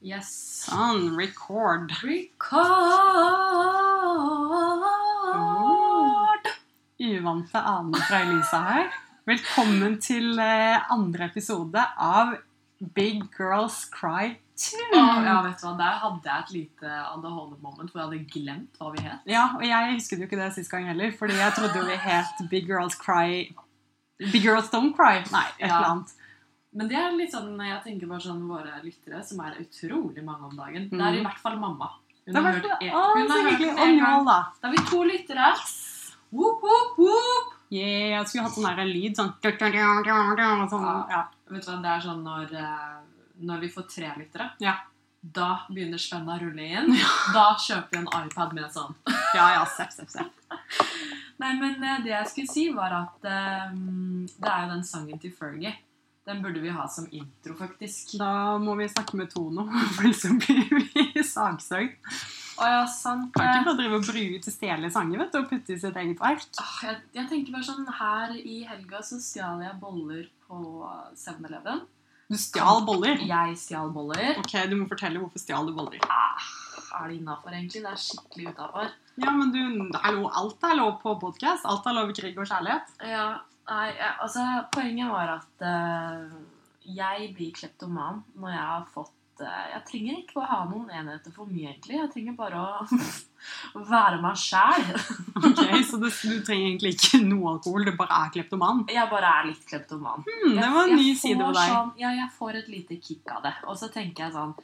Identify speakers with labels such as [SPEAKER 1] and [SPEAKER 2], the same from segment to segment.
[SPEAKER 1] Yes. Sånn. Record.
[SPEAKER 2] Record!
[SPEAKER 1] Uvante aner fra Elisa her. Velkommen til eh, andre episode av Big Girls Cry 2.
[SPEAKER 2] Å, ja, vet du hva, Der hadde jeg et lite ADHD-moment hvor jeg hadde glemt hva vi het.
[SPEAKER 1] Ja, og jeg husket jo ikke det sist gang heller, fordi jeg trodde jo vi het Big Girls Cry Big Girls Don't Cry. Nei, et
[SPEAKER 2] Ja.
[SPEAKER 1] eller annet.
[SPEAKER 2] Men det er litt sånn, jeg tenker bare sånn våre lyttere, som er utrolig mange om dagen. Det er i hvert fall mamma. Hun
[SPEAKER 1] Mm. Det
[SPEAKER 2] har
[SPEAKER 1] var
[SPEAKER 2] hørt
[SPEAKER 1] så,
[SPEAKER 2] en-
[SPEAKER 1] å,
[SPEAKER 2] hun
[SPEAKER 1] så
[SPEAKER 2] har hørt
[SPEAKER 1] hyggelig.
[SPEAKER 2] den
[SPEAKER 1] Og
[SPEAKER 2] en gang.
[SPEAKER 1] Njål, da.
[SPEAKER 2] Da er vi to lyttere. Whoop, whoop, whoop.
[SPEAKER 1] Yeah, jeg skulle hatt sånn der lyd, sånn, sånn ja.
[SPEAKER 2] Vet du hva, det er sånn når, eh, når vi får tre lyttere,
[SPEAKER 1] Ja.
[SPEAKER 2] da begynner spenna å rulle inn. Da kjøper vi en iPad med sånn.
[SPEAKER 1] ja, ja, sepp, sepp, sepp.
[SPEAKER 2] Nei, men eh, det jeg skulle si var at eh, det er jo den sangen til Fergie. Den burde vi ha som intro, faktisk.
[SPEAKER 1] Da må vi snakke med Tono, for så blir vi sagsøkt.
[SPEAKER 2] Å ja, sant.
[SPEAKER 1] Kan ikke
[SPEAKER 2] Eh,
[SPEAKER 1] bare drive og bruke til stjele sanger vet du, og putte i sitt eget verk.
[SPEAKER 2] ah, Jeg, jeg tenker bare sånn, her i helga så stjal jeg boller på 7-Eleven.
[SPEAKER 1] Du stjal boller.
[SPEAKER 2] Jeg stjal boller.
[SPEAKER 1] Ok, Du må fortelle hvorfor stjal du boller.
[SPEAKER 2] Ah, er det innafor, egentlig? Det er skikkelig utafor.
[SPEAKER 1] Ja, men du, hallo, Alt er lov på podkast. Alt er lov i krig og kjærlighet.
[SPEAKER 2] Ja, nei, jeg, altså Poenget var at eh, jeg blir kleptoman når jeg har fått eh, Jeg trenger ikke å ha noen enheter for mye, egentlig. Jeg trenger bare å være meg sjæl.
[SPEAKER 1] Ok, Så du, du trenger egentlig ikke noe alkohol, du bare er kleptoman.
[SPEAKER 2] Jeg bare er litt kleptoman.
[SPEAKER 1] Hmm, det var en
[SPEAKER 2] Jeg-
[SPEAKER 1] ny
[SPEAKER 2] jeg
[SPEAKER 1] side
[SPEAKER 2] får
[SPEAKER 1] ved deg.
[SPEAKER 2] Sånn, ja, jeg får et lite kick av det. Og så tenker jeg sånn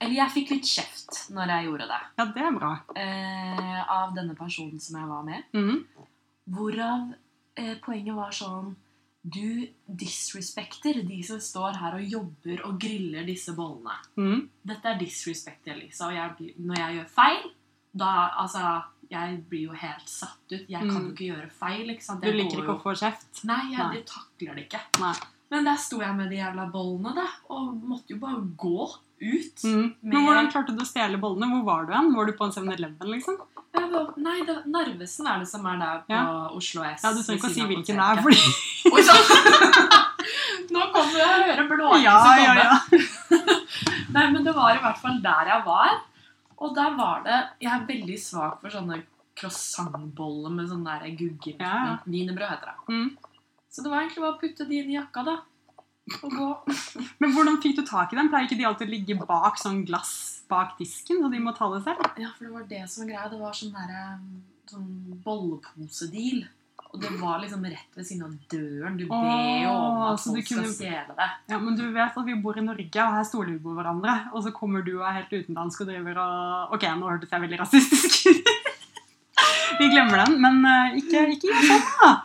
[SPEAKER 2] Eller jeg fikk litt kjeft når jeg gjorde det.
[SPEAKER 1] Ja, det er bra.
[SPEAKER 2] eh, av denne personen som jeg var med.
[SPEAKER 1] Mhm.
[SPEAKER 2] Hvorav eh, poenget var sånn Du disrespekter de som står her og jobber og griller disse bollene.
[SPEAKER 1] Mhm.
[SPEAKER 2] Dette er disrespect, Elisa. Og jeg, blir- når jeg gjør feil, da Altså, jeg blir jo helt satt ut. Jeg kan jo
[SPEAKER 1] Mm.
[SPEAKER 2] ikke gjøre feil, ikke sant?
[SPEAKER 1] Du
[SPEAKER 2] Jeg
[SPEAKER 1] liker
[SPEAKER 2] går jo-
[SPEAKER 1] ikke å få kjeft.
[SPEAKER 2] Nei, jeg
[SPEAKER 1] Nei.
[SPEAKER 2] jeg takler det ikke.
[SPEAKER 1] Nei.
[SPEAKER 2] Men der sto jeg med de jævla bollene, da, og måtte jo bare gå ut.
[SPEAKER 1] Mhm.
[SPEAKER 2] Med-
[SPEAKER 1] Men hvordan klarte du å stjele bollene? Hvor var du hen? Var du på en 7-Eleven, liksom?
[SPEAKER 2] Jeg bare, nei, det, Narvesen er det som er der på
[SPEAKER 1] Ja.
[SPEAKER 2] Oslo S.
[SPEAKER 1] Ja, Du trenger
[SPEAKER 2] ved
[SPEAKER 1] ikke å si
[SPEAKER 2] siden av
[SPEAKER 1] hvilken det
[SPEAKER 2] apoteket.
[SPEAKER 1] er, fordi
[SPEAKER 2] Oi sann! Nå kommer jeg og hører blålys
[SPEAKER 1] Ja, ja,
[SPEAKER 2] komme.
[SPEAKER 1] ja.
[SPEAKER 2] Nei, men det var i hvert fall der jeg var. Og der var det Jeg er veldig svak for sånne croissantboller med sånn der gugge
[SPEAKER 1] Ja, ja.
[SPEAKER 2] Wienerbrød heter det.
[SPEAKER 1] Mhm.
[SPEAKER 2] Så det var egentlig bare å putte de inn i jakka, da. Og gå.
[SPEAKER 1] Men hvordan fikk du tak i dem? Pleier ikke de alltid å ligge bak sånn glass bak disken, så de må ta det selv?
[SPEAKER 2] Ja, for det var det som var greia. Det var sånn derre sånn bolleposedeal. Og det var liksom rett ved siden av døren. Du ber jo om
[SPEAKER 1] Åh,
[SPEAKER 2] at
[SPEAKER 1] så du
[SPEAKER 2] folk skal
[SPEAKER 1] kunne-
[SPEAKER 2] stjele det.
[SPEAKER 1] Ja, men du vet at vi bor i Norge, og her stoler vi på hverandre. Og så kommer du og er helt utenlandsk og driver og Ok, nå hørtes jeg veldig rasistisk ut. Vi glemmer den, men eh, ikke, ikke gjør sånn.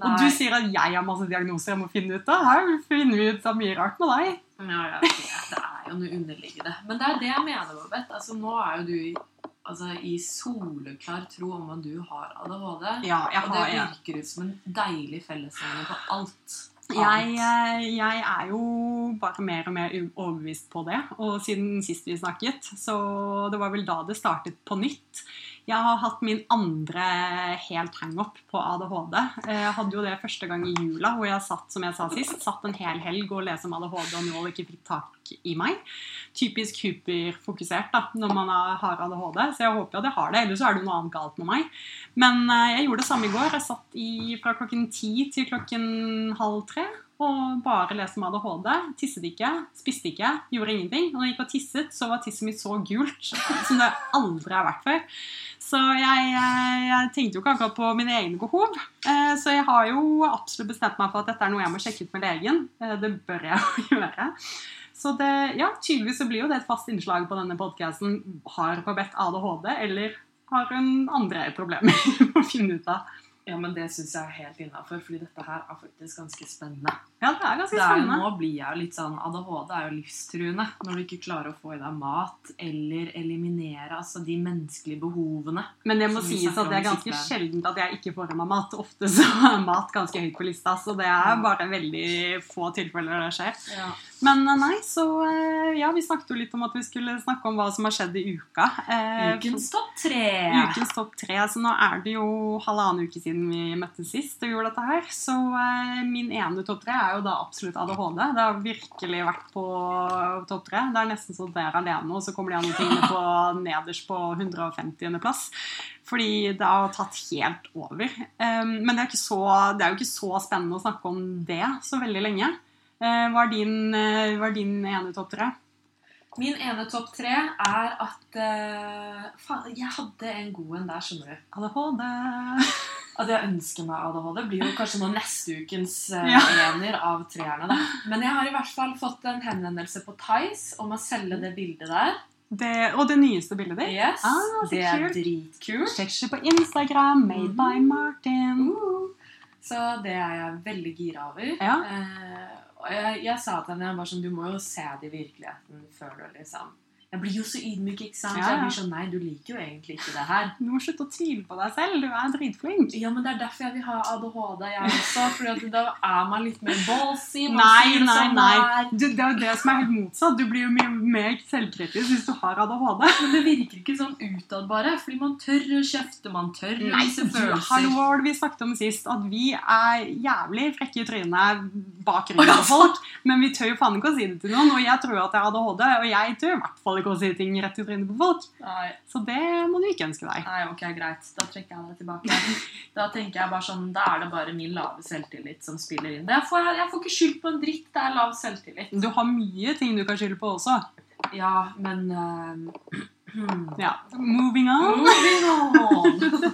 [SPEAKER 1] Og du
[SPEAKER 2] Nei.
[SPEAKER 1] sier at jeg har masse diagnoser jeg må finne ut av. Her finner vi ut av mye rart med deg.
[SPEAKER 2] Ja, jeg vet det er jo noe underliggende. Men det er det jeg mener, Babette. Altså, nå er jo du i- altså, i soleklar tro om at du har ADHD.
[SPEAKER 1] Ja, jeg
[SPEAKER 2] Og det virker ut som en deilig fellesnevner på alt.
[SPEAKER 1] Jeg, eh, jeg er jo bare mer og mer u- overbevist på det. Og siden sist vi snakket, så det var vel da det startet på nytt. Jeg har hatt min andre helt hangup på ADHD. Eh, Jeg hadde jo det første gang i jula, hvor jeg satt som jeg sa sist, satt en hel helg og leste om ADHD og nål ikke fikk tak i meg. Typisk hyperfokusert da, når man har- har ADHD, så jeg håper jo at jeg har det, ellers så er det jo noe annet galt med meg. Men eh, jeg gjorde det samme i går. Jeg satt i, fra klokken ti til klokken halv tre og bare leste om ADHD. Tisset ikke, spiste ikke, gjorde ingenting. Og når jeg gikk og tisset, så var tisset mitt så gult som det aldri har vært før. Så jeg, jeg, jeg tenkte jo ikke akkurat på mine egne behov. Eh, Så jeg har jo absolutt bestemt meg for at dette er noe jeg må sjekke ut med legen. Eh, Det bør jeg jo gjøre. Så det, ja, tydeligvis så blir jo det et fast innslag på denne podkasten. Har Babette ADHD, eller har hun andre problemer å finne ut av?
[SPEAKER 2] Ja, men det syns jeg er helt innafor, fordi dette her er faktisk ganske spennende.
[SPEAKER 1] Ja, det er ganske
[SPEAKER 2] Det er jo,
[SPEAKER 1] spennende.
[SPEAKER 2] nå blir jeg jo litt sånn ADHD er jo livstruende når du ikke klarer å få i deg mat eller eliminere altså, de menneskelige behovene.
[SPEAKER 1] Men det må
[SPEAKER 2] Som vi
[SPEAKER 1] sies
[SPEAKER 2] snakker
[SPEAKER 1] at
[SPEAKER 2] om
[SPEAKER 1] det er
[SPEAKER 2] i
[SPEAKER 1] ganske
[SPEAKER 2] siste.
[SPEAKER 1] sjeldent at jeg ikke får i meg mat. Ofte så er mat ganske høyt på lista, så det
[SPEAKER 2] Mm.
[SPEAKER 1] er bare veldig få tilfeller det skjer.
[SPEAKER 2] Ja.
[SPEAKER 1] Men eh, nei, så eh, ja, vi snakket jo litt om at vi skulle snakke om hva som har skjedd i uka. Eh,
[SPEAKER 2] Ukens topp tre!
[SPEAKER 1] Mm. Altså, Ukens topp tre, så nå er det jo halvannen uke siden siden vi møttes sist og gjorde dette her. Så eh, min ene topp tre er jo da absolutt ADHD. Det har virkelig vært på topp tre. Det er nesten så det er alene, og så kommer de andre tingene på nederst på 150. plass. Fordi det har tatt helt over. Eh, men det er, ikke så, det er jo ikke så spennende å snakke om det så veldig lenge. Eh, Hva er din, eh, hva er din ene topp tre?
[SPEAKER 2] Min ene topp tre er at eh, Faen, jeg hadde en god en der, skjønner du.
[SPEAKER 1] ADHD.
[SPEAKER 2] At jeg ønsker meg ADHD, blir jo kanskje nå neste ukens uh,
[SPEAKER 1] Ja.
[SPEAKER 2] ener av treerne. da. Men jeg har i hvert fall fått en henvendelse på Tice om å selge det bildet der.
[SPEAKER 1] Det, og det nyeste bildet ditt.
[SPEAKER 2] Yes,
[SPEAKER 1] Ah, så
[SPEAKER 2] Det er
[SPEAKER 1] kult.
[SPEAKER 2] dritkult.
[SPEAKER 1] Sjekk ikke på Instagram. Made by Martin.
[SPEAKER 2] Uh, Så det er jeg veldig gira over.
[SPEAKER 1] Ja.
[SPEAKER 2] Eh, og jeg, jeg sa til henne jeg bare sånn, du må jo se det i virkeligheten før du liksom Jeg blir jo så ydmyk, ikke sant?
[SPEAKER 1] Ja,
[SPEAKER 2] Så
[SPEAKER 1] ja.
[SPEAKER 2] jeg blir sånn Nei, du liker jo egentlig ikke det her.
[SPEAKER 1] Du må slutte å tvile på deg selv. Du er dritflink.
[SPEAKER 2] Ja, men det er derfor jeg vil ha ADHD, jeg også. For da er man litt mer ballsy. Man
[SPEAKER 1] Nei,
[SPEAKER 2] sier det sånn,
[SPEAKER 1] nei,
[SPEAKER 2] som
[SPEAKER 1] nei.
[SPEAKER 2] det er.
[SPEAKER 1] Du, det er jo det som er helt motsatt. Du blir jo mye mer selvkritisk hvis du har ADHD.
[SPEAKER 2] Men det virker ikke sånn utad, bare. Fordi man tør å kjefte, man tør å vise
[SPEAKER 1] du, hallo, hva var det vi snakket om sist? At vi er jævlig frekke i trynet bak
[SPEAKER 2] Å, ja,
[SPEAKER 1] ryggen på folk. Men vi tør jo faen ikke å si det til noen. Og jeg tror at jeg har ADHD, og jeg tør i hvert fall ikke å si ting rett i trynet på folk.
[SPEAKER 2] Nei,
[SPEAKER 1] Så det må du ikke ønske deg.
[SPEAKER 2] Nei, ok, greit. Da trekker jeg det tilbake. Da tenker jeg bare sånn, da er det bare min lave selvtillit som spiller inn. Jeg får, jeg får ikke skyld på en dritt, det er lav selvtillit.
[SPEAKER 1] Du har mye ting du kan skylde på også.
[SPEAKER 2] Ja, men ehm, eh,
[SPEAKER 1] Ja, Moving on.
[SPEAKER 2] Moving on!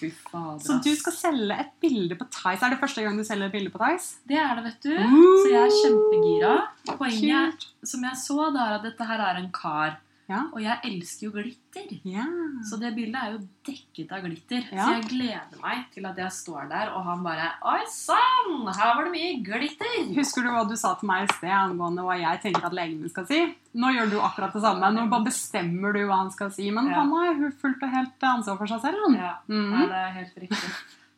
[SPEAKER 2] Fy fader.
[SPEAKER 1] Så du
[SPEAKER 2] ass.
[SPEAKER 1] skal selge et bilde på Tice. Er det første gang du selger et bilde på Tice?
[SPEAKER 2] Det er det, vet du.
[SPEAKER 1] Mm.
[SPEAKER 2] Så jeg er kjempegira. Poenget
[SPEAKER 1] Kult.
[SPEAKER 2] som jeg så, det er at dette her er en kar.
[SPEAKER 1] Ja.
[SPEAKER 2] Og jeg elsker jo glitter.
[SPEAKER 1] Ja.
[SPEAKER 2] Så det bildet er jo dekket av glitter.
[SPEAKER 1] Ja.
[SPEAKER 2] Så jeg gleder meg til at jeg står der, og han bare Oi sann, her var det mye glitter!
[SPEAKER 1] Husker du hva du sa til meg i sted angående hva jeg tenker at legen min skal si? Nå gjør du akkurat det samme. Nå bare bestemmer du hva han skal si. Men
[SPEAKER 2] Ja.
[SPEAKER 1] han har jo fullt og helt ansvar for seg selv. Han.
[SPEAKER 2] Ja, nei,
[SPEAKER 1] Mhm.
[SPEAKER 2] det er helt riktig.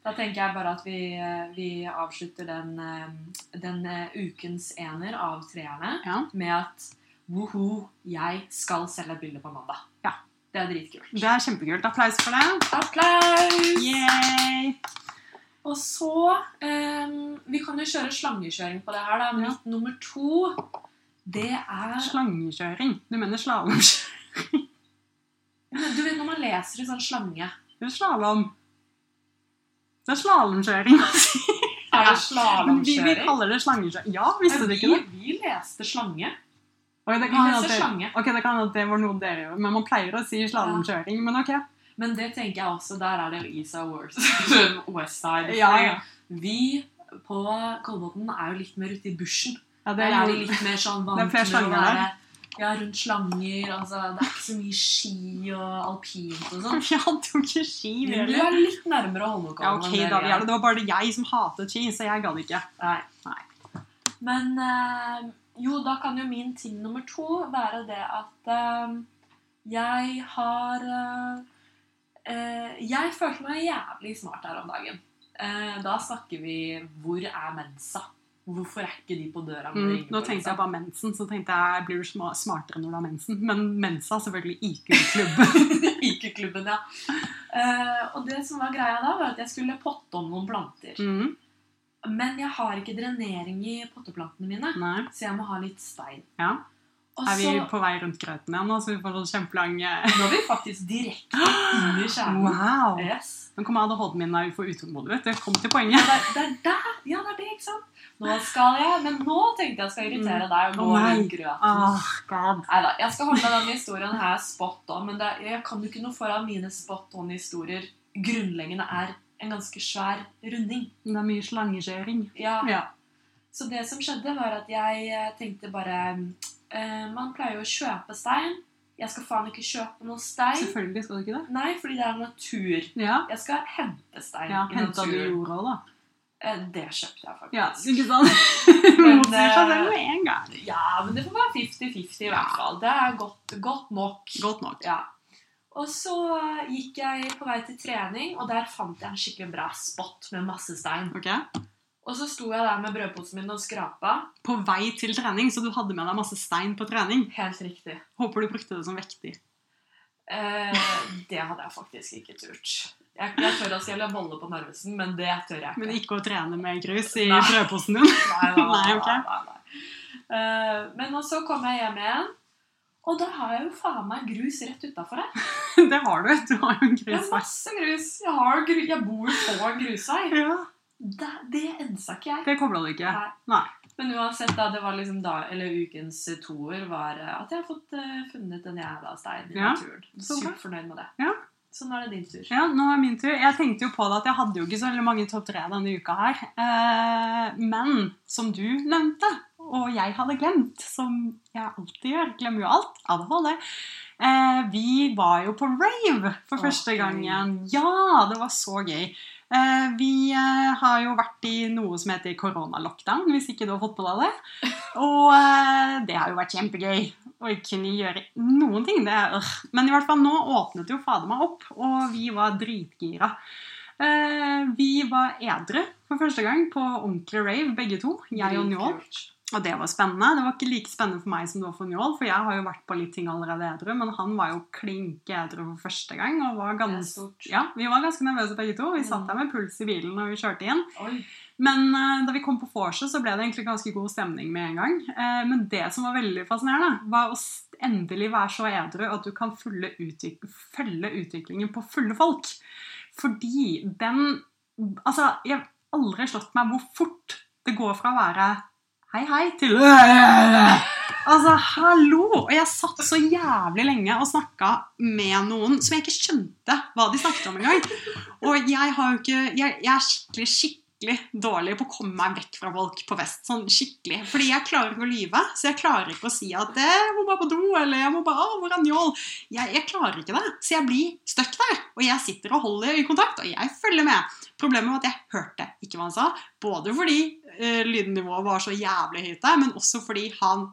[SPEAKER 2] Da tenker jeg bare at vi, eh, vi avslutter den, eh, den eh, ukens ener av treerne
[SPEAKER 1] Ja.
[SPEAKER 2] med at woho, jeg skal selge et bilde på mandag.
[SPEAKER 1] Ja.
[SPEAKER 2] Det er dritkult.
[SPEAKER 1] Det er kjempekult. Applaus for det.
[SPEAKER 2] Applaus!
[SPEAKER 1] Yay!
[SPEAKER 2] Og så eh, Vi kan jo kjøre slangekjøring på det her, da.
[SPEAKER 1] Ja.
[SPEAKER 2] Mitt nummer to, det er
[SPEAKER 1] Slangekjøring. Du mener slalåmkjøring?
[SPEAKER 2] Men Du vet når man leser i sånn slange
[SPEAKER 1] Slalåm. Det er slalåmkjøring.
[SPEAKER 2] Er det
[SPEAKER 1] Men vi, vi
[SPEAKER 2] slalåmkjøring?
[SPEAKER 1] kaller det slangekjøring. Ja, visste du ikke det?
[SPEAKER 2] vi leste slange.
[SPEAKER 1] Oi, det
[SPEAKER 2] Vi
[SPEAKER 1] kan hende
[SPEAKER 2] leser
[SPEAKER 1] at det-
[SPEAKER 2] slange.
[SPEAKER 1] Ok, det kan hende at det var noe dere gjorde, men man pleier å si slalåmkjøring. Men ok.
[SPEAKER 2] Men det tenker jeg også, der er det jo Isa Wors- Westside.
[SPEAKER 1] Ja, ja.
[SPEAKER 2] Vi på Kolbotn er jo litt mer ute i bushen.
[SPEAKER 1] ja det
[SPEAKER 2] Der
[SPEAKER 1] er
[SPEAKER 2] er vi
[SPEAKER 1] jo
[SPEAKER 2] litt mer sånn
[SPEAKER 1] Det er
[SPEAKER 2] vant
[SPEAKER 1] flere
[SPEAKER 2] til å
[SPEAKER 1] slanger
[SPEAKER 2] være ja, rundt slanger. Altså, det er ikke så mye ski og alpint og sånn.
[SPEAKER 1] Vi hadde jo ikke ski. vi
[SPEAKER 2] Men Du
[SPEAKER 1] heller.
[SPEAKER 2] er litt nærmere
[SPEAKER 1] Ja,
[SPEAKER 2] Holmenkollen
[SPEAKER 1] ok,
[SPEAKER 2] enn det
[SPEAKER 1] da
[SPEAKER 2] vi
[SPEAKER 1] vi
[SPEAKER 2] er.
[SPEAKER 1] gjør det. Det var bare jeg som hatet ski, så jeg gadd ikke.
[SPEAKER 2] Nei.
[SPEAKER 1] Nei.
[SPEAKER 2] Men eh, jo, da kan jo min ting nummer to være det at eh, jeg har eh, eh, Jeg følte meg jævlig smart her om dagen. Eh, da snakker vi 'hvor er mensa'? Hvorfor er ikke de på døra? når du
[SPEAKER 1] Mm,
[SPEAKER 2] ringer
[SPEAKER 1] nå
[SPEAKER 2] på,
[SPEAKER 1] tenkte
[SPEAKER 2] liksom?
[SPEAKER 1] jeg bare mensen, så tenkte jeg blir du sma- smartere når du har mensen. Men mensa er selvfølgelig IQ-klubb.
[SPEAKER 2] IQ-klubben, ja. Eh, og det som var greia da, var at jeg skulle potte om noen planter.
[SPEAKER 1] mm,
[SPEAKER 2] Men jeg har ikke drenering i potteplantene mine,
[SPEAKER 1] nei.
[SPEAKER 2] så jeg må ha litt stein.
[SPEAKER 1] Ja.
[SPEAKER 2] Og
[SPEAKER 1] Er vi
[SPEAKER 2] så-
[SPEAKER 1] på vei rundt grøten igjen nå, så vi får sånn kjempelang eh,
[SPEAKER 2] Nå er vi faktisk direkte inn i kjernen.
[SPEAKER 1] Wow!
[SPEAKER 2] Yes.
[SPEAKER 1] Nå kommer ADHD-en min der for utålmodig, vet du. Kom til
[SPEAKER 2] Ja,
[SPEAKER 1] poenget.
[SPEAKER 2] det, er, det er der! Ja, det er det, ikke sant? Nå skal jeg, Men nå tenkte jeg skal irritere deg og gå
[SPEAKER 1] Mm. Å, nei. Ah.
[SPEAKER 2] rundt grøten.
[SPEAKER 1] Åh, god.
[SPEAKER 2] Neida, jeg skal holde denne historien her spot on, men det, er- jeg kan jo ikke noe for at mine spot on-historier grunnleggende er en ganske svær runding.
[SPEAKER 1] Det er mye slangekjøring.
[SPEAKER 2] Ja,
[SPEAKER 1] Ja.
[SPEAKER 2] Så det som skjedde, var at jeg eh, tenkte bare eh, Man pleier jo å kjøpe stein. Jeg skal faen ikke kjøpe noe stein.
[SPEAKER 1] Selvfølgelig skal du ikke det.
[SPEAKER 2] Nei, fordi det er natur.
[SPEAKER 1] Ja.
[SPEAKER 2] Jeg skal hente stein
[SPEAKER 1] ja
[SPEAKER 2] i
[SPEAKER 1] Henta du
[SPEAKER 2] naturen.
[SPEAKER 1] jorda òg, da?
[SPEAKER 2] Eh, Det kjøpte jeg faktisk.
[SPEAKER 1] Ja, ikke sant? Motsier seg
[SPEAKER 2] eh,
[SPEAKER 1] selv med en gang.
[SPEAKER 2] Ja, men det får være 50-50 i hvert fall. Det er godt, godt nok.
[SPEAKER 1] eh, Godt nok.
[SPEAKER 2] Ja. Og så eh, gikk jeg på vei til trening, og der fant jeg en skikkelig bra spot med masse stein.
[SPEAKER 1] Ok.
[SPEAKER 2] Og så sto jeg der med brødposen min og skrapa.
[SPEAKER 1] På vei til trening, så du hadde med deg masse stein på trening.
[SPEAKER 2] Helt riktig.
[SPEAKER 1] Håper du brukte det som vekter.
[SPEAKER 2] Eh, det hadde jeg faktisk ikke turt. Jeg, jeg tør at jeg vil ha bolle på Narvesen, men det tør jeg ikke.
[SPEAKER 1] Men ikke å trene med grus i
[SPEAKER 2] Nei.
[SPEAKER 1] brødposen din.
[SPEAKER 2] Nei, nei,
[SPEAKER 1] Nei,
[SPEAKER 2] nei,
[SPEAKER 1] ok.
[SPEAKER 2] nei, nei, nei. Eh, men og så kom jeg hjem igjen, og da har jeg jo faen meg grus rett utafor her.
[SPEAKER 1] Det har du. Du har jo en
[SPEAKER 2] Jeg har
[SPEAKER 1] grusvei.
[SPEAKER 2] masse grus. Jeg, har jo gru, jeg bor jo på en grusvei.
[SPEAKER 1] Ja,
[SPEAKER 2] Det, det ensa ikke jeg.
[SPEAKER 1] det kobla du ikke.
[SPEAKER 2] Nei.
[SPEAKER 1] Nei.
[SPEAKER 2] Men uansett, da, det var liksom da, eller ukens toer var eh, at jeg har fått eh, funnet en jævla stein i
[SPEAKER 1] Ja.
[SPEAKER 2] naturen.
[SPEAKER 1] Så bra.
[SPEAKER 2] Superfornøyd med det.
[SPEAKER 1] Ja.
[SPEAKER 2] Så nå er det din tur.
[SPEAKER 1] Ja, nå er min tur. Jeg tenkte jo på det at jeg hadde jo ikke så veldig mange topp tre denne uka her. Eh, Men som du nevnte, og jeg hadde glemt, som jeg alltid gjør, glemmer jo alt, ADHD, eh, vi var jo på rave for
[SPEAKER 2] Åh,
[SPEAKER 1] første
[SPEAKER 2] gøy.
[SPEAKER 1] gang igjen. Ja, det var så gøy. Eh, Vi eh, har jo vært i noe som heter koronalockdown, hvis ikke du har fått på deg det. Og eh, det har jo vært kjempegøy å ikke kunne gjøre noen ting. Det er øh. Men i hvert fall nå åpnet jo fader meg opp, og vi var dritgira. Eh, Vi var edre for første gang på ordentlig rave, begge to. Jeg og Njål.
[SPEAKER 2] Dritkult.
[SPEAKER 1] Og det var spennende. Det var ikke like spennende for meg som det var for Njål, for jeg har jo vært på litt ting allerede edru, men han var jo klink edru for første gang. og var
[SPEAKER 2] Det er
[SPEAKER 1] ganske...
[SPEAKER 2] stort.
[SPEAKER 1] Ja, Vi var ganske nervøse begge to. Vi satt
[SPEAKER 2] Mm.
[SPEAKER 1] der med puls i bilen når vi kjørte inn.
[SPEAKER 2] Oi.
[SPEAKER 1] Men eh, da vi kom på vorset, så ble det egentlig ganske god stemning med en gang. Eh, men det som var veldig fascinerende, var å s- endelig være så edru at du kan følge, utvik følge utviklingen på fulle folk. Fordi den Altså, jeg har aldri slått meg hvor fort det går fra å være hei, hei til Altså, hallo! Og jeg satt så jævlig lenge og snakka med noen som jeg ikke skjønte hva de snakket om engang. Og jeg har jo ikke Jeg, jeg er skikkelig, skikkelig dårlig på å komme meg vekk fra folk på fest. Sånn skikkelig. Fordi jeg klarer ikke å lyve. Så jeg klarer ikke å si at eh, 'Jeg må bare på do', eller 'Jeg må bare Å, hvor er Njål?' Jeg, jeg klarer ikke det. Så jeg blir stuck der. Og jeg sitter og holder i kontakt, og jeg følger med. Problemet var at jeg hørte ikke hva han sa. Både fordi eh, lydnivået var så jævlig høyt der, men også fordi han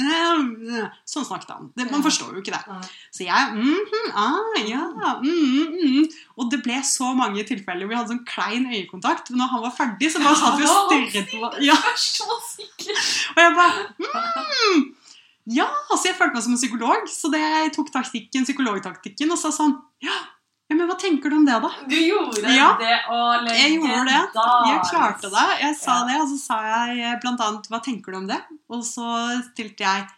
[SPEAKER 1] Sånn snakket han. Det, man forstår jo ikke det.
[SPEAKER 2] Nei.
[SPEAKER 1] Så jeg mhm, ah, ja, mhm, mhm. Og det ble så mange tilfeller hvor vi hadde sånn klein øyekontakt. Men når han var ferdig, så bare satt vi og stirret på ja,
[SPEAKER 2] Så sikkert.
[SPEAKER 1] Og jeg bare mhm. Ja! Så jeg følte meg som en psykolog. Så det, jeg tok taktikken, psykologtaktikken og sa sånn Ja, ja men hva tenker du om det, da?
[SPEAKER 2] Du gjorde
[SPEAKER 1] Ja.
[SPEAKER 2] det, og
[SPEAKER 1] Jeg gjorde det. Jeg klarte det. Jeg sa
[SPEAKER 2] Ja.
[SPEAKER 1] det, og så sa jeg eh, blant annet 'Hva tenker du om det?' Og så stilte jeg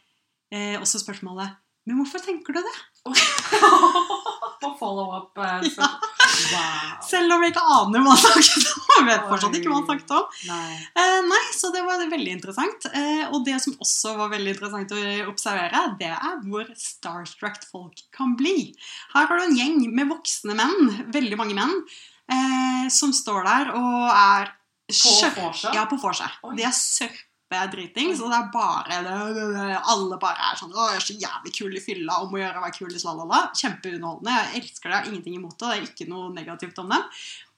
[SPEAKER 1] eh, også spørsmålet 'Men hvorfor tenker du det?'
[SPEAKER 2] På follow-up. eh,
[SPEAKER 1] Ja.
[SPEAKER 2] så- Wow.
[SPEAKER 1] Selv om jeg ikke aner hva han snakket om. Jeg vet fortsatt ikke hva han
[SPEAKER 2] Oi.
[SPEAKER 1] snakket om.
[SPEAKER 2] Nei.
[SPEAKER 1] Eh, nei, så det var veldig interessant. Eh, og det som også var veldig interessant å observere, det er hvor starstruck folk kan bli. Her har du en gjeng med voksne menn, veldig mange menn, eh, som står der og er
[SPEAKER 2] På
[SPEAKER 1] skjørt-
[SPEAKER 2] vorset?
[SPEAKER 1] Ja, på vorset.
[SPEAKER 2] Oi.
[SPEAKER 1] De er sørpedritings, og det er bare Alle bare er sånn 'Å, jeg er så jævlig kul i fylla, om å gjøre å være kul i slalala'. Kjempeunderholdende. Jeg elsker det, jeg har ingenting imot det. Det er ikke noe negativt om det.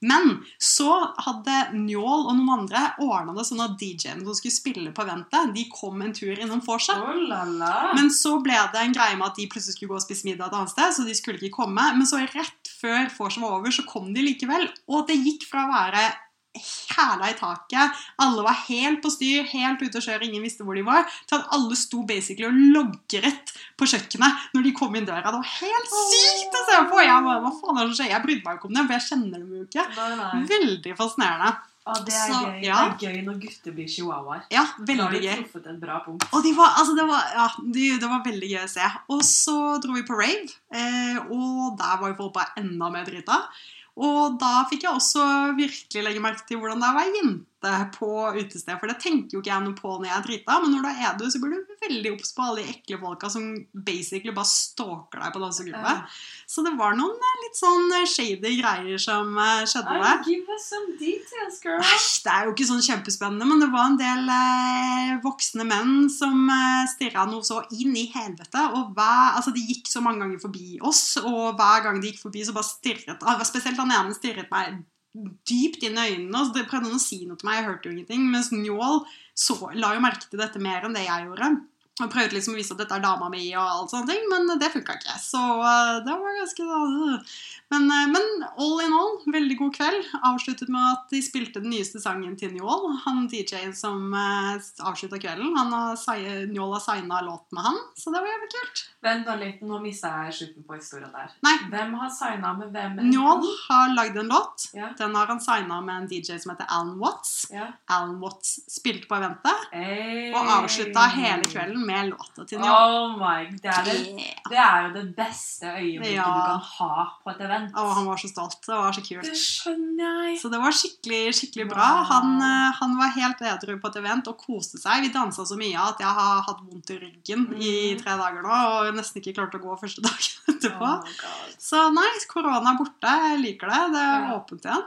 [SPEAKER 1] Men så hadde Njål og noen andre ordna det sånn at DJ-en som skulle spille på eventet, de kom en tur innom vorset.
[SPEAKER 2] Oh, la, la.
[SPEAKER 1] Men så ble det en greie med at de plutselig skulle gå og spise middag et annet sted, så de skulle ikke komme. Men så rett før vorset var over, så kom de likevel. Og det gikk fra å være hæla i taket, alle var helt på styr, helt ute å kjøre, ingen visste hvor de var, til at alle sto basically og logret på kjøkkenet når de kom inn døra. Det var helt sykt å se på! Jeg bare, hva faen er det som skjer? Jeg brydde meg jo ikke om det, for jeg kjenner dem jo ikke.
[SPEAKER 2] Nei, nei.
[SPEAKER 1] Veldig fascinerende.
[SPEAKER 2] Å, det er
[SPEAKER 1] Så,
[SPEAKER 2] gøy.
[SPEAKER 1] ja.
[SPEAKER 2] Det er gøy når gutter blir chihuahuaer.
[SPEAKER 1] Ja,
[SPEAKER 2] Da har
[SPEAKER 1] veldig
[SPEAKER 2] du
[SPEAKER 1] gøy.
[SPEAKER 2] truffet en bra punkt.
[SPEAKER 1] Og de var, altså det, var, ja, de, det var veldig gøy å se. Og så dro vi på rave, eh, og der var jo folk bare enda mer drita. Og da fikk jeg også virkelig legge merke til hvordan det er å være jente på utested. For det tenker jo ikke jeg noe på når jeg er drita, men når du er edru, så blir du veldig obs på alle de ekle folka som basically bare stalker deg på dansegulvet. Så det var noen eh, litt sånn eh, shady greier som eh, skjedde der.
[SPEAKER 2] Nei, give us some details, girl.
[SPEAKER 1] Nei, det er jo ikke sånn kjempespennende, men det var en del eh, voksne menn som eh, stirra noe så inn i helvete. Og hver, altså, de gikk så mange ganger forbi oss, og hver gang de gikk forbi, så bare stirret ah, Spesielt han ene stirret meg dypt inn i øynene. Og så det- prøvde han å si noe til meg, jeg hørte jo ingenting. Mens Njål så, la jo merke til dette mer enn det jeg gjorde. Og prøvde liksom å vise at dette er dama mi, og alt sånne ting, men det funka ikke. Så eh, det var ganske øh. men, eh, men all in all, veldig god kveld. Avsluttet med at de spilte den nyeste sangen til Njål. Han DJ-en som eh, avslutta kvelden, han har, si- Njål har signa låt med han, så det var jævlig kult.
[SPEAKER 2] Vent nå litt, nå mista jeg slutten på historien der.
[SPEAKER 1] Nei.
[SPEAKER 2] Hvem har signa med hvem?
[SPEAKER 1] Njål har lagd en låt.
[SPEAKER 2] Ja.
[SPEAKER 1] Den har han signa med en DJ som heter Alan Watts.
[SPEAKER 2] Ja.
[SPEAKER 1] Alan Watts spilte på eventet
[SPEAKER 2] Hey.
[SPEAKER 1] og avslutta hele kvelden med låta til Njål.
[SPEAKER 2] Oh my, det er, det,
[SPEAKER 1] Yeah.
[SPEAKER 2] det er jo det beste øyeblikket
[SPEAKER 1] Ja.
[SPEAKER 2] du kan ha på et event.
[SPEAKER 1] Og han var så stolt. Det var så kult.
[SPEAKER 2] Det skjønner jeg.
[SPEAKER 1] Så det var skikkelig skikkelig bra.
[SPEAKER 2] Wow.
[SPEAKER 1] Han, eh, han var helt edru på et event og koste seg. Vi dansa så mye at jeg har hatt vondt i ryggen i
[SPEAKER 2] Mm.
[SPEAKER 1] tre dager nå og nesten ikke klarte å gå første dagen etterpå.
[SPEAKER 2] Oh my God.
[SPEAKER 1] Så nei, korona er borte. Jeg liker det. Det er
[SPEAKER 2] Ja.
[SPEAKER 1] åpent igjen.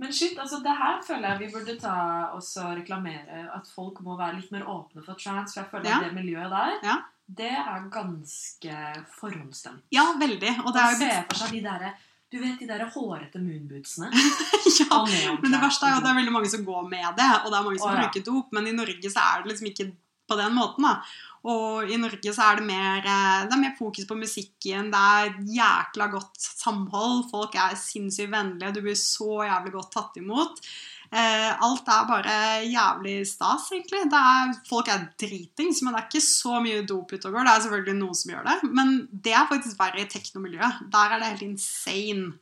[SPEAKER 2] Men shit, altså det her føler jeg vi burde ta og så reklamere at folk må være litt mer åpne for trans. For jeg føler
[SPEAKER 1] Ja.
[SPEAKER 2] at det miljøet der,
[SPEAKER 1] Ja.
[SPEAKER 2] det er ganske forhåndsstemt.
[SPEAKER 1] Ja, veldig. Og det er jo
[SPEAKER 2] Man
[SPEAKER 1] blitt
[SPEAKER 2] ser for seg de derre du vet de der hårete moonbootsene?
[SPEAKER 1] ja.
[SPEAKER 2] og neonklær.
[SPEAKER 1] Men det verste er jo at det er veldig mange som går med det, og det er mange som
[SPEAKER 2] Å, ja.
[SPEAKER 1] bruker dop, men i Norge så er det liksom ikke på den måten, da. Og i Norge så er det mer, eh, det er mer fokus på musikken, det er jækla godt samhold, folk er sinnssykt vennlige, du blir så jævlig godt tatt imot. Eh, alt er bare jævlig stas, egentlig. Det er, folk er dritings, men det er ikke så mye dop ute og går. Det er selvfølgelig noen som gjør det, men det er faktisk verre i teknomiljøet. Der er det helt insane.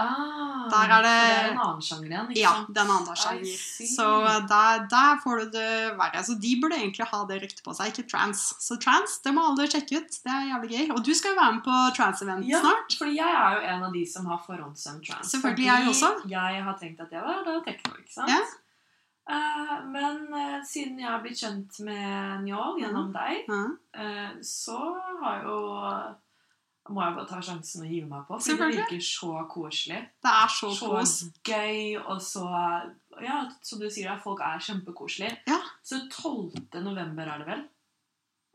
[SPEAKER 2] Ah,
[SPEAKER 1] Der er det-
[SPEAKER 2] så det er en annen sjanger igjen, ikke
[SPEAKER 1] Ja,
[SPEAKER 2] sant?
[SPEAKER 1] den andre
[SPEAKER 2] I
[SPEAKER 1] sjanger.
[SPEAKER 2] see.
[SPEAKER 1] Så eh, der, der får du det verre. Så de burde egentlig ha det ryktet på seg, ikke trans. Så trans, det må alle sjekke ut. Det er jævlig gøy. Og du skal jo være med på trans-event
[SPEAKER 2] Ja,
[SPEAKER 1] snart.
[SPEAKER 2] fordi jeg er jo en av de som har forhåndsdømt trans.
[SPEAKER 1] Selvfølgelig,
[SPEAKER 2] fordi
[SPEAKER 1] jeg også.
[SPEAKER 2] Jeg har tenkt at jeg var da tekno, ikke sant?
[SPEAKER 1] Ja.
[SPEAKER 2] Eh, men eh, siden jeg har blitt kjent med Njål gjennom deg,
[SPEAKER 1] Ja,
[SPEAKER 2] eh, så har jo må jeg bare ta sjansen og hive meg på. For det
[SPEAKER 1] Selvfølgelig.
[SPEAKER 2] virker så koselig.
[SPEAKER 1] det er så
[SPEAKER 2] Så
[SPEAKER 1] kos.
[SPEAKER 2] gøy, og så Ja, som du sier, folk er kjempekoselige.
[SPEAKER 1] Ja.
[SPEAKER 2] Så 12. november er det vel?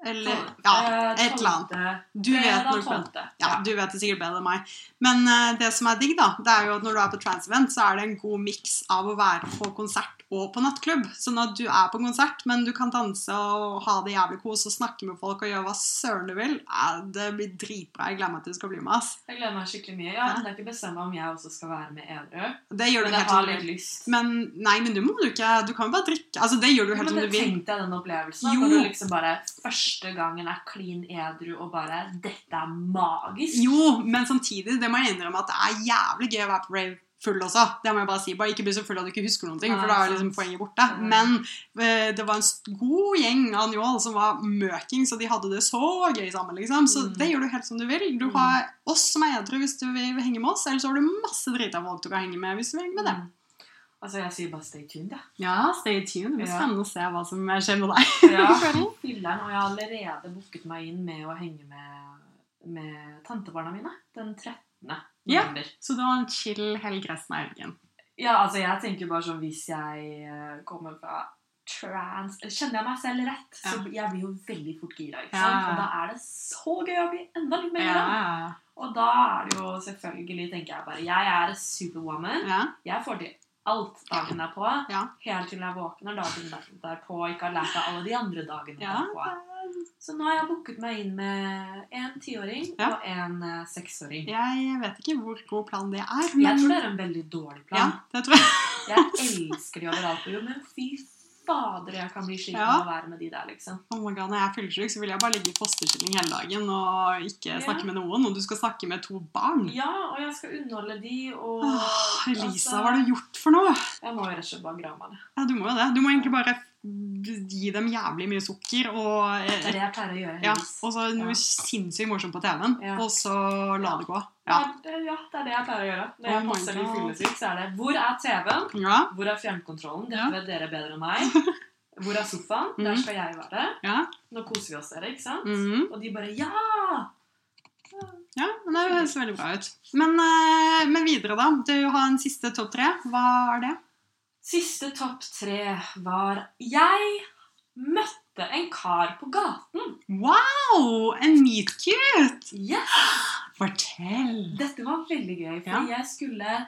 [SPEAKER 2] eh,
[SPEAKER 1] Eller ja, et eller annet. Du vet nok bedre. Ja, du vet det sikkert bedre enn meg. Men eh, det som er digg, da, det er jo at når du er på trans-event, så er det en god miks av å være på konsert og på nattklubb. Sånn at du er på konsert, men du kan danse og ha det jævlig kos og snakke med folk og gjøre hva søren du vil. Eh, det blir dritbra. Jeg gleder meg til du skal bli med. ass.
[SPEAKER 2] Jeg gleder meg skikkelig mye. Jeg har ennå ikke bestemt meg om jeg også skal være med edru.
[SPEAKER 1] Det gjør
[SPEAKER 2] Men jeg
[SPEAKER 1] du
[SPEAKER 2] har
[SPEAKER 1] helt som du
[SPEAKER 2] litt
[SPEAKER 1] vil.
[SPEAKER 2] lyst.
[SPEAKER 1] Men nei, men du må jo ikke Du kan jo bare drikke. Altså, det gjør du
[SPEAKER 2] Ja,
[SPEAKER 1] helt
[SPEAKER 2] men
[SPEAKER 1] som du
[SPEAKER 2] det
[SPEAKER 1] vil.
[SPEAKER 2] tenkte jeg den opplevelsen. at
[SPEAKER 1] Jo.
[SPEAKER 2] Når du liksom bare første gangen er klin edru og bare 'Dette er magisk'.
[SPEAKER 1] Jo, men samtidig, det må jeg innrømme at det er jævlig gøy å være på rave full også. Det må jeg bare si. Bare ikke bli så full at du ikke husker noen ting,
[SPEAKER 2] Nei,
[SPEAKER 1] for da er
[SPEAKER 2] sant.
[SPEAKER 1] liksom poenget borte.
[SPEAKER 2] Mm.
[SPEAKER 1] Men eh, det var en st- god gjeng av Njål som var møking, så de hadde det så gøy sammen, liksom. Så
[SPEAKER 2] Mm.
[SPEAKER 1] det gjør du helt som du vil. Du
[SPEAKER 2] Mm.
[SPEAKER 1] har oss som er edru hvis du vil henge med oss, eller så har du masse drita folk du kan henge med hvis du vil henge med dem.
[SPEAKER 2] Mm. Altså, jeg sier bare 'stay tuned', jeg.
[SPEAKER 1] Ja, stay tuned. Det
[SPEAKER 2] blir
[SPEAKER 1] blir spennende å se hva som skjer med deg.
[SPEAKER 2] Ja. Filler'n, og jeg har allerede booket meg inn med å henge med, med tantebarna mine den 13.
[SPEAKER 1] Ja.
[SPEAKER 2] november.
[SPEAKER 1] Så du har en chill helg resten av helgen.
[SPEAKER 2] Ja, altså jeg tenker bare sånn hvis jeg eh, kommer fra trans Kjenner jeg meg selv rett, så jeg blir jo veldig fort gira. ikke
[SPEAKER 1] Ja.
[SPEAKER 2] sant? Og da er det så gøy å bli enda litt mer gira. Og da er det jo selvfølgelig, tenker jeg bare Jeg er en superwoman.
[SPEAKER 1] ja.
[SPEAKER 2] Jeg får til alt dagen derpå.
[SPEAKER 1] Ja.
[SPEAKER 2] Helt til jeg våkner dagen der- derpå og ikke har lært av alle de andre dagene
[SPEAKER 1] Ja,
[SPEAKER 2] derpå. Så nå har jeg booket meg inn med en tiåring
[SPEAKER 1] Ja.
[SPEAKER 2] og en eh, seksåring.
[SPEAKER 1] Jeg vet ikke hvor god plan det er.
[SPEAKER 2] Jeg tror det er en veldig dårlig plan.
[SPEAKER 1] Ja, det tror jeg.
[SPEAKER 2] Jeg elsker de overalt på jobb, men fy fader, jeg kan bli sliten
[SPEAKER 1] Ja.
[SPEAKER 2] av å være med de der, liksom.
[SPEAKER 1] Oh my God, når jeg er fyllesyk, så vil jeg bare ligge i fosterstilling hele dagen og
[SPEAKER 2] Ja.
[SPEAKER 1] ikke snakke med noen. Og du skal snakke med to barn.
[SPEAKER 2] Ja, og jeg skal underholde de, og
[SPEAKER 1] Åh,
[SPEAKER 2] altså,
[SPEAKER 1] Lisa, hva har du gjort for noe?
[SPEAKER 2] Jeg må jo rett og slett bare grave meg ned.
[SPEAKER 1] Ja, du må jo det. Du må egentlig bare gi dem jævlig mye sukker og
[SPEAKER 2] Det er
[SPEAKER 1] eh,
[SPEAKER 2] det jeg pleier å gjøre.
[SPEAKER 1] ja,
[SPEAKER 2] heldigvis.
[SPEAKER 1] og så noe
[SPEAKER 2] Ja.
[SPEAKER 1] sinnssykt morsomt på TV-en,
[SPEAKER 2] Ja.
[SPEAKER 1] og så la det gå.
[SPEAKER 2] Ja.
[SPEAKER 1] Ja.
[SPEAKER 2] det- ja, det er det jeg pleier å gjøre. Når
[SPEAKER 1] Oh
[SPEAKER 2] jeg
[SPEAKER 1] my
[SPEAKER 2] passer litt
[SPEAKER 1] God.
[SPEAKER 2] fyllesyk, så er det Hvor er TV-en?
[SPEAKER 1] Ja,
[SPEAKER 2] Hvor er fjernkontrollen? Dette
[SPEAKER 1] Ja.
[SPEAKER 2] vet dere bedre enn meg. Hvor er sofaen? Der
[SPEAKER 1] Mhm.
[SPEAKER 2] skal jeg være.
[SPEAKER 1] ja.
[SPEAKER 2] Nå koser vi oss, dere, ikke sant?
[SPEAKER 1] Mhm.
[SPEAKER 2] Og de bare Ja!
[SPEAKER 1] ja men det høres veldig bra ut. Men, eh, men videre, da. Du har en siste topp tre. Hva er det?
[SPEAKER 2] Siste topp tre var Jeg møtte en kar på gaten.
[SPEAKER 1] Wow! En meet cute!
[SPEAKER 2] Yes!
[SPEAKER 1] Fortell!
[SPEAKER 2] Dette var veldig gøy, fordi
[SPEAKER 1] Ja.
[SPEAKER 2] jeg skulle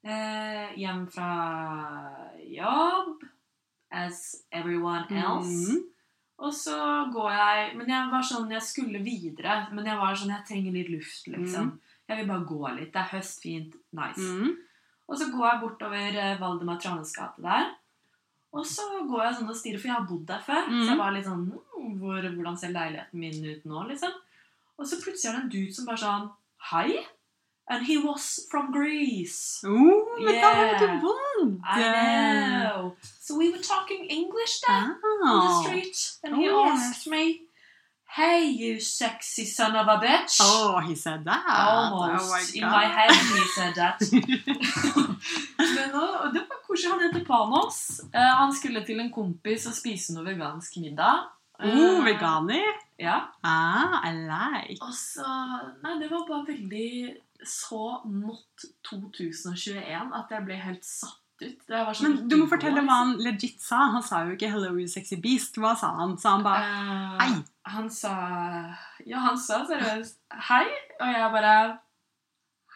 [SPEAKER 2] eh, hjem
[SPEAKER 1] Mm.
[SPEAKER 2] fra jobb as everyone else.
[SPEAKER 1] Mhm.
[SPEAKER 2] Og så går jeg Men jeg var sånn, jeg skulle videre. Men jeg var sånn, jeg trenger litt luft, liksom. Jeg vil bare gå litt. Det er høst, fint, nice.
[SPEAKER 1] Mm.
[SPEAKER 2] Og så går jeg bortover eh, Valdemar Tranes gate der. Og så går jeg sånn og stirrer, for jeg har bodd der før.
[SPEAKER 1] Mhm.
[SPEAKER 2] Så jeg var litt sånn «Mm, hvor, Hvordan ser leiligheten min ut nå, liksom? Og så plutselig er det en dude som bare sånn Hei! And he was from Greece.
[SPEAKER 1] Oh, men da var det ikke
[SPEAKER 2] Yeah.
[SPEAKER 1] vondt!
[SPEAKER 2] I know. So we were talking English then on the
[SPEAKER 1] Ah.
[SPEAKER 2] street. And he
[SPEAKER 1] Oh, yes.
[SPEAKER 2] asked me, Hey, you sexy son of a bitch.
[SPEAKER 1] Oh, he said that.
[SPEAKER 2] Almost.
[SPEAKER 1] oh
[SPEAKER 2] In my
[SPEAKER 1] my God.
[SPEAKER 2] head he said that. Men nå, og det var koselig. Han heter Panos. Eh, han skulle til en kompis og spise noe vegansk middag. Eh,
[SPEAKER 1] oh, veganer.
[SPEAKER 2] Ja.
[SPEAKER 1] Ah, I like.
[SPEAKER 2] Og så Nei, det var bare veldig så not 2021 at jeg ble helt satt ut. Det var sånn
[SPEAKER 1] Men du må fortelle hva han legit sa. Han sa jo ikke 'Hello, you sexy beast'. Hva sa han? Sa han bare
[SPEAKER 2] var.
[SPEAKER 1] 'Hei'?
[SPEAKER 2] Eh, Han sa Ja, han sa seriøst 'hei', og jeg bare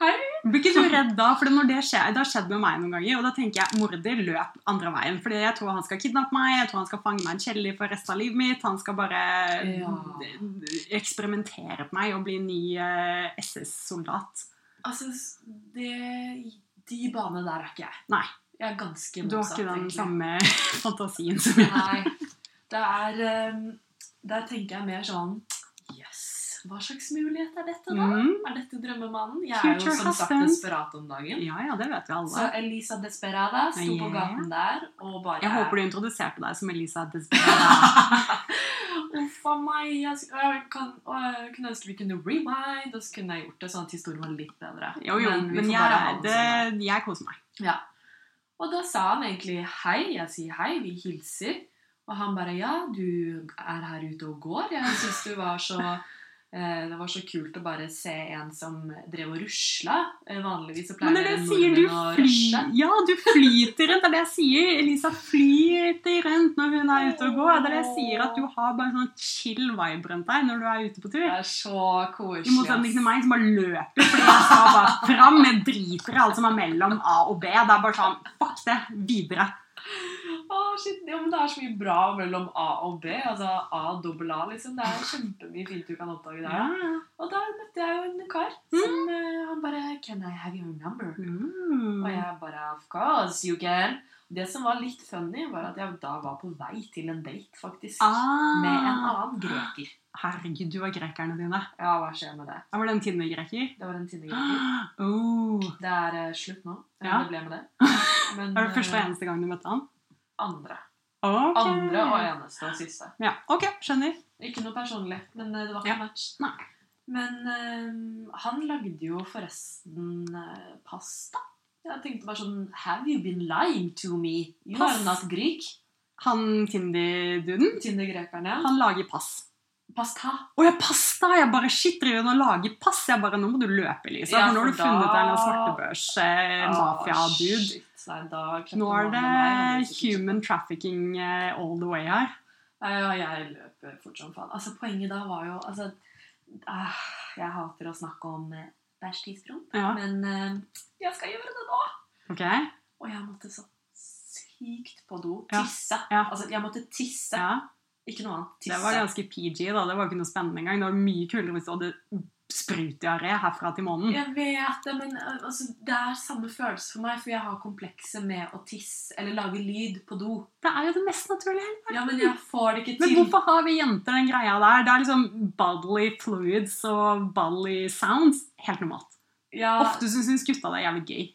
[SPEAKER 2] 'hei'.
[SPEAKER 1] Blir ikke du redd da? For når det skjer, det har skjedd med meg noen ganger. Og da tenker jeg morder, løp andre veien. Fordi jeg tror han skal kidnappe meg, jeg tror han skal fange meg i en kjeller for resten av livet mitt. Han skal bare
[SPEAKER 2] Ja.
[SPEAKER 1] d- d- eksperimentere på meg og bli ny eh, SS-soldat.
[SPEAKER 2] Altså, s- det De banene der er ikke jeg.
[SPEAKER 1] Nei.
[SPEAKER 2] Jeg er ganske
[SPEAKER 1] Du har
[SPEAKER 2] motsatt.
[SPEAKER 1] ikke den
[SPEAKER 2] egentlig.
[SPEAKER 1] samme fantasien som jeg.
[SPEAKER 2] Nei. Det er ehm, Der tenker jeg mer sånn Yes, hva slags mulighet er dette, da?
[SPEAKER 1] Mm.
[SPEAKER 2] Er dette drømmemannen? Jeg er jo
[SPEAKER 1] Future
[SPEAKER 2] som sagt
[SPEAKER 1] husband.
[SPEAKER 2] desperat om dagen.
[SPEAKER 1] Ja, ja, det vet vi
[SPEAKER 2] Så
[SPEAKER 1] alle.
[SPEAKER 2] Elisa Desperada sto på
[SPEAKER 1] Ja.
[SPEAKER 2] gaten der og bare
[SPEAKER 1] Jeg håper du introduserte deg som Elisa Desperada.
[SPEAKER 2] Uff a meg. Jeg, sk- jeg, kan, å, jeg kunne ønske vi kunne rewind, og så kunne jeg gjort det sånn at historien var litt bedre.
[SPEAKER 1] Jo, jo,
[SPEAKER 2] vi
[SPEAKER 1] men
[SPEAKER 2] får bare ha
[SPEAKER 1] jeg,
[SPEAKER 2] den
[SPEAKER 1] det,
[SPEAKER 2] sånn der.
[SPEAKER 1] jeg koser meg.
[SPEAKER 2] Ja. Og da sa han egentlig hei. Jeg sier hei, vi hilser. Og han bare ja, du er her ute og går. Jeg syns du var så eh, Det var så kult å bare se en som drev og rusla. Eh, Vanligvis så
[SPEAKER 1] Men det
[SPEAKER 2] pleier dere
[SPEAKER 1] er det jeg sier,
[SPEAKER 2] nordmenn å
[SPEAKER 1] du
[SPEAKER 2] rusle.
[SPEAKER 1] flyr Ja, du flyter rundt. Det er det jeg sier. Elisa flyter rundt når hun er ute og går. Det er det jeg sier, at du har bare sånn chill vibe rundt deg når du er ute på
[SPEAKER 2] Det
[SPEAKER 1] tur.
[SPEAKER 2] er så
[SPEAKER 1] I motsetning til
[SPEAKER 2] koselig. ass.
[SPEAKER 1] meg som bare løper fordi jeg skal bare fram. Jeg driter i alt som er mellom A og B. Det er bare sånn Fuck det. Videre.
[SPEAKER 2] Å, shit. Ja, men det er så mye bra mellom A og B. Altså A dobbel A, liksom. Det er kjempemye fint du kan oppdage der.
[SPEAKER 1] Ja.
[SPEAKER 2] Og da møtte jeg jo en kar som eh, han bare Can I have your number?
[SPEAKER 1] Mm.
[SPEAKER 2] Og jeg bare Of course you can. Det som var litt funny, var at jeg da var på vei til en date, faktisk. Med en
[SPEAKER 1] Ah.
[SPEAKER 2] annen greker.
[SPEAKER 1] Herregud, du og grekerne dine.
[SPEAKER 2] Ja, hva skjer med det?
[SPEAKER 1] Jeg var det en Tinder-greker.
[SPEAKER 2] Det var en tinnegreker.
[SPEAKER 1] Oh.
[SPEAKER 2] Det er eh, slutt nå. eh,
[SPEAKER 1] Ja.
[SPEAKER 2] Det ble med det. Men,
[SPEAKER 1] Det var det første og
[SPEAKER 2] eh,
[SPEAKER 1] eneste gang du møtte han?
[SPEAKER 2] Andre.
[SPEAKER 1] Ok.
[SPEAKER 2] Andre og eneste og siste.
[SPEAKER 1] Ja, ok, skjønner.
[SPEAKER 2] Ikke noe personlig, men eh, det var
[SPEAKER 1] Ja.
[SPEAKER 2] ikke match.
[SPEAKER 1] Nei.
[SPEAKER 2] Men eh, han lagde jo forresten eh, pasta. Jeg tenkte bare sånn Have you been lying to me? You are
[SPEAKER 1] Pass-
[SPEAKER 2] not Greek.
[SPEAKER 1] Han Tinder-duden,
[SPEAKER 2] Tinder-grekerne.
[SPEAKER 1] han lager pass.
[SPEAKER 2] Pasta.
[SPEAKER 1] Å, jeg pasta! Jeg bare skitter i å lage pass. Jeg bare, nå må du løpe, Lisa.
[SPEAKER 2] Ja,
[SPEAKER 1] for nå har du
[SPEAKER 2] for da- Ah,
[SPEAKER 1] funnet deg en svartebørs-mafia-dude.
[SPEAKER 2] Shit, Nei, da klepte
[SPEAKER 1] Eh, nå er
[SPEAKER 2] mannen
[SPEAKER 1] det
[SPEAKER 2] meg, og sikkert-
[SPEAKER 1] human trafficking eh, all the way her.
[SPEAKER 2] Nei, ja, jeg løper fort som faen. Altså, poenget da var jo altså, ah, Jeg hater å snakke om eh, bæsjtidspromp,
[SPEAKER 1] Ja,
[SPEAKER 2] men eh, jeg skal gjøre det nå!
[SPEAKER 1] ok.
[SPEAKER 2] Og jeg måtte så sykt på do.
[SPEAKER 1] Ja,
[SPEAKER 2] Tisse.
[SPEAKER 1] ja.
[SPEAKER 2] Altså, jeg måtte tisse.
[SPEAKER 1] Ja,
[SPEAKER 2] Ikke noe annet. Tisse.
[SPEAKER 1] det var ganske PG, da. Det var ikke noe spennende engang. Det var mye kulere hvis du hadde sprutdiaré herfra til månen.
[SPEAKER 2] Jeg vet det, men eh, altså, det er samme følelse for meg, for jeg har komplekser med å tisse eller lage lyd på do.
[SPEAKER 1] Det er jo det mest naturlige.
[SPEAKER 2] Ja, men jeg får det ikke
[SPEAKER 1] Men
[SPEAKER 2] til.
[SPEAKER 1] hvorfor har vi jenter den greia der? Det er liksom bodily fluids og bodily sounds. Helt normalt.
[SPEAKER 2] Ja,
[SPEAKER 1] Ofte så syns gutta det er jævlig gøy.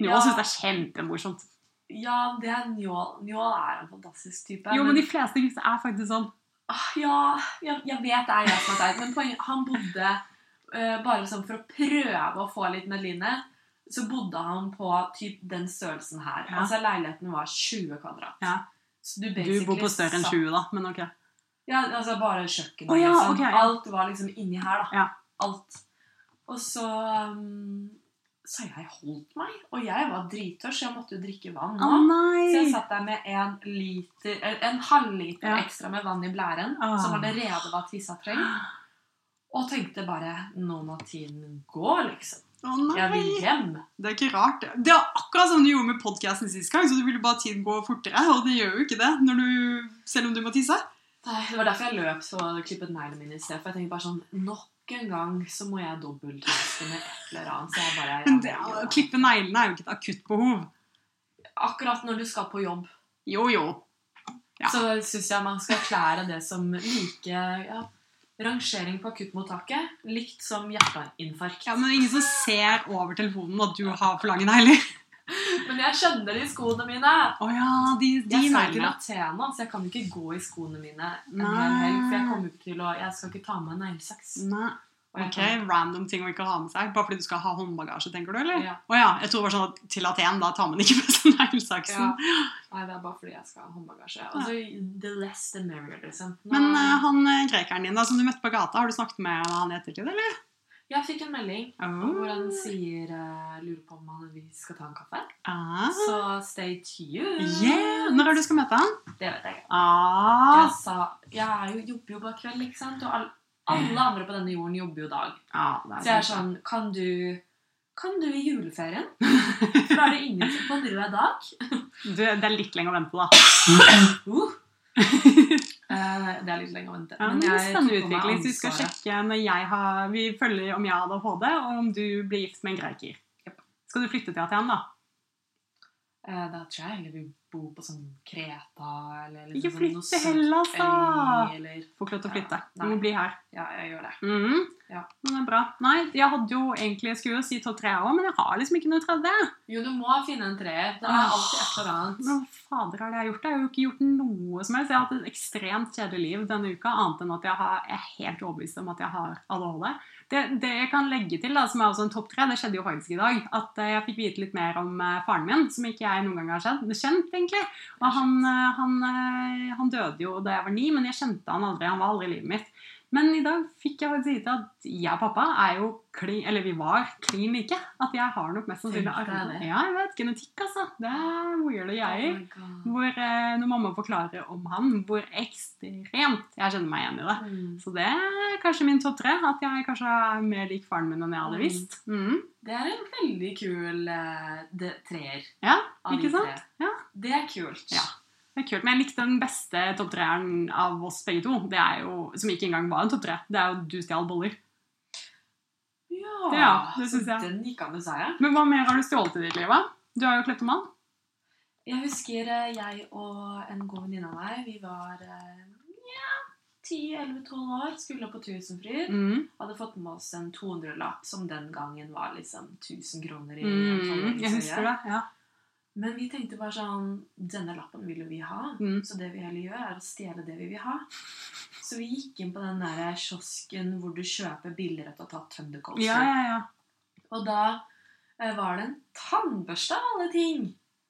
[SPEAKER 1] Njål
[SPEAKER 2] Ja.
[SPEAKER 1] syns det er kjempemorsomt.
[SPEAKER 2] Ja, det er Njål. Njål er en fantastisk type.
[SPEAKER 1] Jo, men de fleste gutter er faktisk sånn.
[SPEAKER 2] ah, ja, jeg, jeg vet det er jeg som er teit, men poenget Han bodde eh, bare sånn for å prøve å få litt Medline. Så bodde han på typ den størrelsen her.
[SPEAKER 1] Ja.
[SPEAKER 2] Altså Leiligheten var 20 kvadrat.
[SPEAKER 1] Ja.
[SPEAKER 2] Så du,
[SPEAKER 1] Du bor på større enn
[SPEAKER 2] basically
[SPEAKER 1] 20, da, men ok.
[SPEAKER 2] Ja, altså bare kjøkkenet.
[SPEAKER 1] Å ja,
[SPEAKER 2] liksom.
[SPEAKER 1] ok, ja.
[SPEAKER 2] Alt var liksom inni her, da.
[SPEAKER 1] Ja.
[SPEAKER 2] Alt. Og så um, Så jeg holdt meg, og jeg var drittørr, så jeg måtte jo drikke vann.
[SPEAKER 1] Å
[SPEAKER 2] nå. Så jeg
[SPEAKER 1] nei!
[SPEAKER 2] satt der med en, liter, eller en halvliter
[SPEAKER 1] Ja.
[SPEAKER 2] ekstra med vann i blæren,
[SPEAKER 1] Ah.
[SPEAKER 2] som allerede var tissa trengt, og tenkte bare Nå må tiden gå, liksom.
[SPEAKER 1] Å
[SPEAKER 2] Jeg vil
[SPEAKER 1] nei!
[SPEAKER 2] hjem.
[SPEAKER 1] Det er ikke rart. det. Det er akkurat som du gjorde med podkasten sist gang, så du ville bare tiden gå fortere, og det gjør jo ikke det når du, selv om du må tisse.
[SPEAKER 2] Nei, Det var derfor jeg løp så klippet neglene mine i sted. For jeg tenkte bare sånn Nok en gang så må jeg dobbelttaske med et eller annet. Så jeg bare
[SPEAKER 1] Men
[SPEAKER 2] jeg
[SPEAKER 1] det, å
[SPEAKER 2] velger det.
[SPEAKER 1] klippe neglene er jo ikke et akutt behov.
[SPEAKER 2] Akkurat når du skal på jobb,
[SPEAKER 1] Jo, jo. Ja.
[SPEAKER 2] så syns jeg man skal erklære det som like ja, rangering på akuttmottaket. Likt som hjerteinfarkt.
[SPEAKER 1] Ja, men det er ingen som ser over telefonen at du har for lange negler.
[SPEAKER 2] Men jeg skjønner de skoene mine!
[SPEAKER 1] Å ja, de, de
[SPEAKER 2] Jeg skal til
[SPEAKER 1] neglene.
[SPEAKER 2] Athena, så jeg kan jo ikke gå i skoene mine en
[SPEAKER 1] Nei.
[SPEAKER 2] hel helg. For
[SPEAKER 1] Ah.
[SPEAKER 2] jeg kommer ikke til å Jeg skal ikke ta med neglesaks.
[SPEAKER 1] Nei.
[SPEAKER 2] Og jeg
[SPEAKER 1] Ok,
[SPEAKER 2] kan-
[SPEAKER 1] Random ting å ikke ha med seg. Bare fordi du skal ha håndbagasje, tenker du? eller?
[SPEAKER 2] Ja.
[SPEAKER 1] Å ja. Jeg tror det var sånn at til Aten, da tar man ikke med seg
[SPEAKER 2] Ja.
[SPEAKER 1] neglesaksen.
[SPEAKER 2] Nei, det er bare fordi jeg skal ha håndbagasje. Altså, the less the merrier, liksom. Nå,
[SPEAKER 1] Men eh, han eh, grekeren din da, som du møtte på gata, har du snakket med han i ettertid, eller?
[SPEAKER 2] Jeg fikk en melding
[SPEAKER 1] Oh.
[SPEAKER 2] hvor han sier eh, Lurer på om han, vi skal ta en kaffe.
[SPEAKER 1] Ah.
[SPEAKER 2] Så stay tuned.
[SPEAKER 1] Yeah. Når er det du skal møte han?
[SPEAKER 2] Det vet jeg ikke.
[SPEAKER 1] Ah.
[SPEAKER 2] Jeg sa Jeg er jo, jobber jo bare kveld, ikke sant? Og all, alle andre på denne jorden jobber jo dag.
[SPEAKER 1] Ah, det
[SPEAKER 2] Så jeg er sånn Kan du kan du i juleferien? For da er det ingen som kan drive deg i dag. sånn.
[SPEAKER 1] Du, det er litt lenge å vente på, da.
[SPEAKER 2] Uh. Eh, det er litt lenge å vente.
[SPEAKER 1] Ja, men det er spennende
[SPEAKER 2] tok på meg
[SPEAKER 1] utvikling, så vi skal
[SPEAKER 2] ansvaret.
[SPEAKER 1] sjekke når jeg har, vi følger om jeg har ADHD, og om du blir gift med en greker.
[SPEAKER 2] Japp.
[SPEAKER 1] Skal du flytte til Aten, da?
[SPEAKER 2] Eh, da tror jeg heller vi bor på sånn Kreta eller liksom
[SPEAKER 1] Ikke
[SPEAKER 2] sånn
[SPEAKER 1] flytt
[SPEAKER 2] noe
[SPEAKER 1] til
[SPEAKER 2] søtt
[SPEAKER 1] Hellas, da!
[SPEAKER 2] øy, Eller,
[SPEAKER 1] Får ikke lov til å flytte.
[SPEAKER 2] Ja,
[SPEAKER 1] Du
[SPEAKER 2] nei.
[SPEAKER 1] må bli her.
[SPEAKER 2] ja, jeg gjør det.
[SPEAKER 1] Mhm.
[SPEAKER 2] Ja.
[SPEAKER 1] Men det er bra. Nei, jeg hadde jo egentlig jeg skulle jo si topp tre år, men jeg har liksom ikke noe tredje.
[SPEAKER 2] Jo, du må finne en treer. Det er alltid et eller annet.
[SPEAKER 1] Hva fader er det jeg har gjort? Jeg har jo ikke gjort noe som helst. Jeg har hatt et ekstremt kjedelig liv denne uka, annet enn at jeg, har, jeg er helt overbevist om at jeg har ADHD. Det, det jeg kan legge til, da, som er også en topp tre, det skjedde jo faktisk i dag, at eh, jeg fikk vite litt mer om eh, faren min, som ikke jeg noen gang har kjent, kjent egentlig. Og han, eh, han, eh, han døde jo da jeg var ni, men jeg kjente han aldri. Han var aldri i livet mitt. Men i dag fikk jeg faktisk vite at jeg og pappa er jo klin, eller vi var klin like. At jeg har nok mest sannsynlig
[SPEAKER 2] Tenk deg
[SPEAKER 1] arvet
[SPEAKER 2] det.
[SPEAKER 1] Ja, jeg vet. Genetikk, altså. Det er weirde greier.
[SPEAKER 2] Oh my
[SPEAKER 1] Hvor, eh, når mamma forklarer om han, hvor ekstremt jeg kjenner meg igjen i det.
[SPEAKER 2] God. Mm.
[SPEAKER 1] Så det er kanskje min topp tre. At jeg kanskje er mer lik faren min enn jeg hadde
[SPEAKER 2] Mm.
[SPEAKER 1] visst. Mm.
[SPEAKER 2] Det er en veldig kul eh, det- treer.
[SPEAKER 1] Ja,
[SPEAKER 2] av de
[SPEAKER 1] ikke sant?
[SPEAKER 2] tre.
[SPEAKER 1] Ja.
[SPEAKER 2] Det er kult.
[SPEAKER 1] Ja. Det er kult, Men jeg likte den beste topp treeren av oss begge to. Det er jo, Som ikke engang var en topp tre. Det er jo du stjal boller.
[SPEAKER 2] Ja,
[SPEAKER 1] Ja, det
[SPEAKER 2] så
[SPEAKER 1] synes jeg.
[SPEAKER 2] Den gikk an å seie.
[SPEAKER 1] Men hva mer har du stjålet i ditt liv? da? Du har jo kleptoman.
[SPEAKER 2] Jeg husker eh, jeg og en god venninne av meg, vi var eh, nja, 10-11-12 år, skulle på Tusenfryd.
[SPEAKER 1] Mm.
[SPEAKER 2] Hadde fått med oss en 200-lapp, som den gangen var liksom 1000 kroner i
[SPEAKER 1] Mm. Jeg
[SPEAKER 2] tolvåringsøye.
[SPEAKER 1] husker det. ja.
[SPEAKER 2] Men vi tenkte bare sånn Denne lappen vil jo vi ha.
[SPEAKER 1] Mm.
[SPEAKER 2] Så det vi heller gjør, er å stjele det vi vil ha. Så vi gikk inn på den der kiosken hvor du kjøper billigere og tar Thundercoaster.
[SPEAKER 1] Ja, ja, ja.
[SPEAKER 2] Og da eh, var det en tannbørste av alle ting.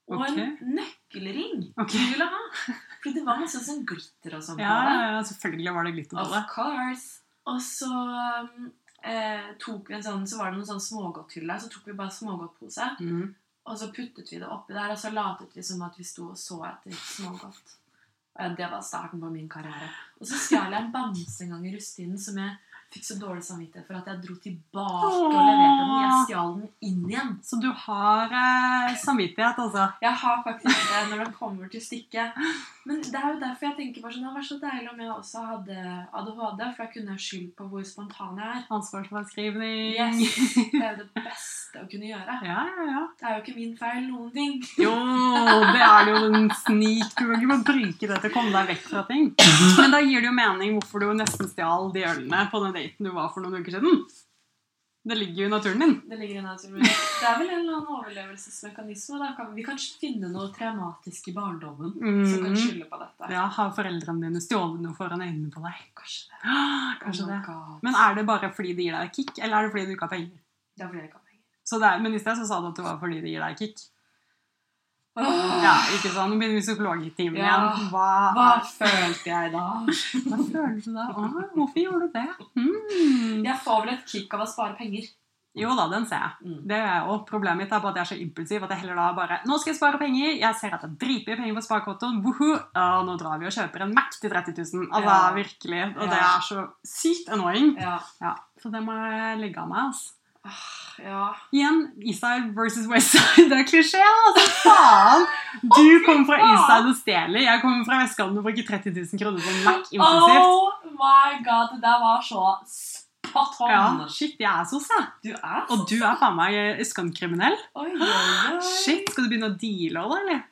[SPEAKER 2] Og
[SPEAKER 1] Ok.
[SPEAKER 2] en nøkkelring
[SPEAKER 1] Ok.
[SPEAKER 2] vi ville ha. Fordi det var masse sånn glitter og sånn. på
[SPEAKER 1] Ja,
[SPEAKER 2] det.
[SPEAKER 1] ja, ja, selvfølgelig var det glitter på
[SPEAKER 2] Of
[SPEAKER 1] det.
[SPEAKER 2] course. Og så um, eh, tok vi en sånn, så var det noen sånn smågodthylle, så tok vi bare smågodtpose.
[SPEAKER 1] Mm.
[SPEAKER 2] Og så puttet vi det oppi der, og så latet vi som at vi sto og så etter smågodt. Eh, Det var starten på min karriere. Og så stjal jeg en bamse en gang i rusttiden som jeg fikk så dårlig samvittighet for at jeg dro tilbake og leverte den. Jeg stjal den inn igjen.
[SPEAKER 1] Så du har eh, samvittighet, altså?
[SPEAKER 2] Jeg har faktisk det når det kommer til stykket. Men det er jo derfor jeg tenker bare sånn, det hadde vært så deilig om jeg også hadde ADHD, for da kunne jeg skyldt på hvor spontan jeg er.
[SPEAKER 1] Ansvarsfraskrivning
[SPEAKER 2] Yes, Det er jo det beste å kunne gjøre.
[SPEAKER 1] Ja, ja, ja.
[SPEAKER 2] Det er jo ikke min feil noen ting.
[SPEAKER 1] Jo, det er jo en snik. Du kan ikke bare bruke det til å komme deg vekk fra ting. Men da gir det jo mening hvorfor du nesten stjal de ølene på den daten du var for noen uker siden. Det ligger jo i naturen din.
[SPEAKER 2] Det ligger i naturen. Det er vel en eller annen overlevelsesmekanisme. Da kan vi kanskje finne noe traumatisk i barndommen som kan
[SPEAKER 1] Mm.
[SPEAKER 2] skylde på dette.
[SPEAKER 1] Ja, Har foreldrene dine stjålet noe foran øynene på deg?
[SPEAKER 2] Kanskje det.
[SPEAKER 1] Ah, Kanskje
[SPEAKER 2] Oh my
[SPEAKER 1] det.
[SPEAKER 2] God.
[SPEAKER 1] Men er det bare fordi det gir deg kick, eller er det fordi du ikke har penger?
[SPEAKER 2] Da blir det ikke penger.
[SPEAKER 1] Så det er, men i sted så sa du at det var fordi det gir deg kick.
[SPEAKER 2] Åh,
[SPEAKER 1] Ja, ikke sant? Nå begynner vi psykologtimen
[SPEAKER 2] Ja.
[SPEAKER 1] igjen. Hva,
[SPEAKER 2] Hva følte jeg da?
[SPEAKER 1] hva føler du da? Åh, hvorfor gjorde du det? Mm.
[SPEAKER 2] Jeg får vel et kick av å spare penger.
[SPEAKER 1] Jo da, den ser jeg.
[SPEAKER 2] Mm.
[SPEAKER 1] Det er jo Problemet mitt er bare at jeg er så impulsiv at jeg heller da bare Nå skal jeg spare penger! Jeg ser at jeg driter i penger på sparekontoen. Woho! Ja, nå drar vi og kjøper en Mac til 30 000. Altså,
[SPEAKER 2] Ja.
[SPEAKER 1] virkelig. Og
[SPEAKER 2] Ja.
[SPEAKER 1] det er så sykt annoying.
[SPEAKER 2] Ja.
[SPEAKER 1] Ja, så det må jeg legge av meg, altså.
[SPEAKER 2] Ah, Ja.
[SPEAKER 1] Igjen, Eastside versus Westside. Det er klisjé, altså! Faen! Du kommer fra Eastside og stjeler. Jeg kommer fra vestkanten og bruker 30 000 kroner på Mac impulsivt.
[SPEAKER 2] Oh my god, det der var så spot on.
[SPEAKER 1] Ja, shit, jeg er sos, jeg.
[SPEAKER 2] Du er så
[SPEAKER 1] Og du er faen meg østkantkriminell.
[SPEAKER 2] Oi, oi, oi.
[SPEAKER 1] Shit, skal du begynne å deale da, eller?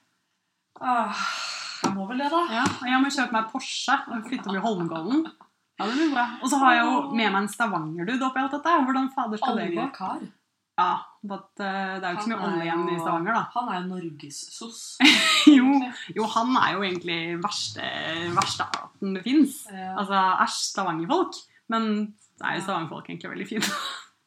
[SPEAKER 2] Ah, jeg må vel det, da.
[SPEAKER 1] Ja, og jeg må kjøpe meg Porsche og flytte over i Holmenkollen. Ja, det blir bra. Og så har jeg jo med meg en Stavanger-dude oppi alt dette. Hvordan fader skal det gå?
[SPEAKER 2] Oljekar.
[SPEAKER 1] Ja, but, eh, det er jo ikke så mye
[SPEAKER 2] Han er
[SPEAKER 1] olje igjen i
[SPEAKER 2] jo-
[SPEAKER 1] Stavanger, da.
[SPEAKER 2] Han er jo norgessos.
[SPEAKER 1] Jo, jo, han er jo egentlig verste, verste arten det fins.
[SPEAKER 2] Ja,
[SPEAKER 1] Altså, æsj, Stavanger-folk. Men så er jo Stavanger-folk egentlig veldig fine.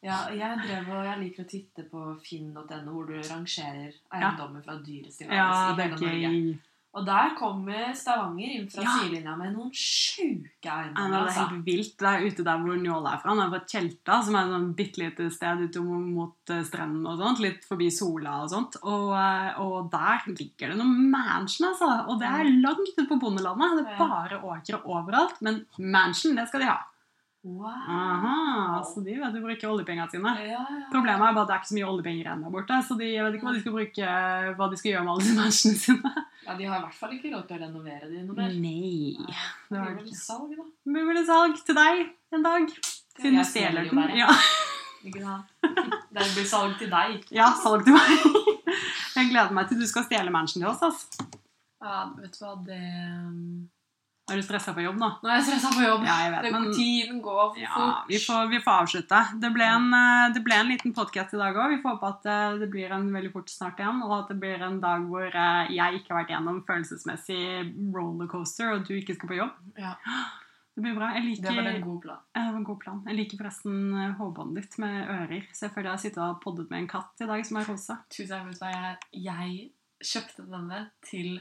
[SPEAKER 2] ja, jeg drev og jeg liker å titte på finn.no, hvor du rangerer eiendommer fra dyrest til
[SPEAKER 1] Ja,
[SPEAKER 2] verdens i
[SPEAKER 1] det er
[SPEAKER 2] hele Norge.
[SPEAKER 1] gøy.
[SPEAKER 2] Og der kommer Stavanger inn fra
[SPEAKER 1] Ja.
[SPEAKER 2] sidelinja med noen sjuke
[SPEAKER 1] Ja, men
[SPEAKER 2] eiendommer.
[SPEAKER 1] det er
[SPEAKER 2] Altså.
[SPEAKER 1] helt vilt. Det er ute der hvor Njåla er fra. Han er fra Tjelta, som er et sånn bitte lite sted ute mot eh, strenden og sånt. Litt forbi Sola og sånt. Og, eh, og der ligger det noen mansion, altså. Og det er langt ute på bondelandet. Det er
[SPEAKER 2] Mm. Ja.
[SPEAKER 1] bare åkre overalt. Men mansion, det skal de ha.
[SPEAKER 2] Wow.
[SPEAKER 1] Aha, så de vet å bruke oljepengene sine.
[SPEAKER 2] Ja, ja.
[SPEAKER 1] Problemet er bare at det er ikke så mye oljepenger igjen der borte, så de, jeg vet ikke hva de skal bruke, eh, hva de skal gjøre med alle disse mansionene sine.
[SPEAKER 2] ja, de har i hvert fall ikke råd til å renovere de noe mer.
[SPEAKER 1] Nei.
[SPEAKER 2] Nei,
[SPEAKER 1] Det
[SPEAKER 2] Det
[SPEAKER 1] har
[SPEAKER 2] blir
[SPEAKER 1] de
[SPEAKER 2] vel
[SPEAKER 1] ikke.
[SPEAKER 2] salg, da.
[SPEAKER 1] Det blir vel et salg til deg en dag, siden du
[SPEAKER 2] Jeg selger
[SPEAKER 1] stjeler
[SPEAKER 2] jo
[SPEAKER 1] den.
[SPEAKER 2] bare.
[SPEAKER 1] Ja.
[SPEAKER 2] Ikke sant? Det blir salg til deg.
[SPEAKER 1] Ja, salg til meg. Jeg gleder meg til du skal stjele mansion til oss. ass.
[SPEAKER 2] Ja, vet du hva, det um, Nå
[SPEAKER 1] Er du stressa for jobb nå?
[SPEAKER 2] er jeg stressa på jobb.
[SPEAKER 1] Ja, jeg vet,
[SPEAKER 2] Det-
[SPEAKER 1] men
[SPEAKER 2] Tiden går for
[SPEAKER 1] ja,
[SPEAKER 2] fort.
[SPEAKER 1] vi, får, vi får avslutte. Det ble en, eh, det ble en liten podkast i dag òg. Vi får håpe at eh, det blir en veldig fort snart igjen, og at det blir en dag hvor eh, jeg ikke har vært gjennom følelsesmessig rollercoaster, og du ikke skal på jobb.
[SPEAKER 2] Ja.
[SPEAKER 1] Det blir bra. Jeg
[SPEAKER 2] Det
[SPEAKER 1] liker,
[SPEAKER 2] var
[SPEAKER 1] det
[SPEAKER 2] en god plan.
[SPEAKER 1] var en god plan. Jeg liker forresten eh, hårbåndet ditt med ører. Så jeg føler jeg har sittet og poddet med en katt i dag som er rosa.
[SPEAKER 2] Tusen takk, vet du hva, jeg, jeg kjøpte denne til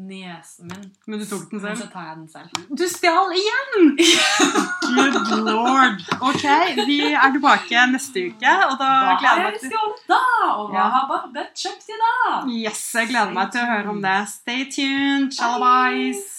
[SPEAKER 2] niesen min.
[SPEAKER 1] Men du tok den
[SPEAKER 2] Men
[SPEAKER 1] selv?
[SPEAKER 2] så tar jeg den selv.
[SPEAKER 1] Du stjal igjen! Good lord. Ok, vi er tilbake neste uke, og da
[SPEAKER 2] Hva
[SPEAKER 1] gleder
[SPEAKER 2] har jeg
[SPEAKER 1] jeg meg til
[SPEAKER 2] skålet da? Og hva
[SPEAKER 1] Ja.
[SPEAKER 2] har Barbet kjøpt i dag?
[SPEAKER 1] Yes, jeg gleder meg til å høre om det. Stay tuned. Shalabais.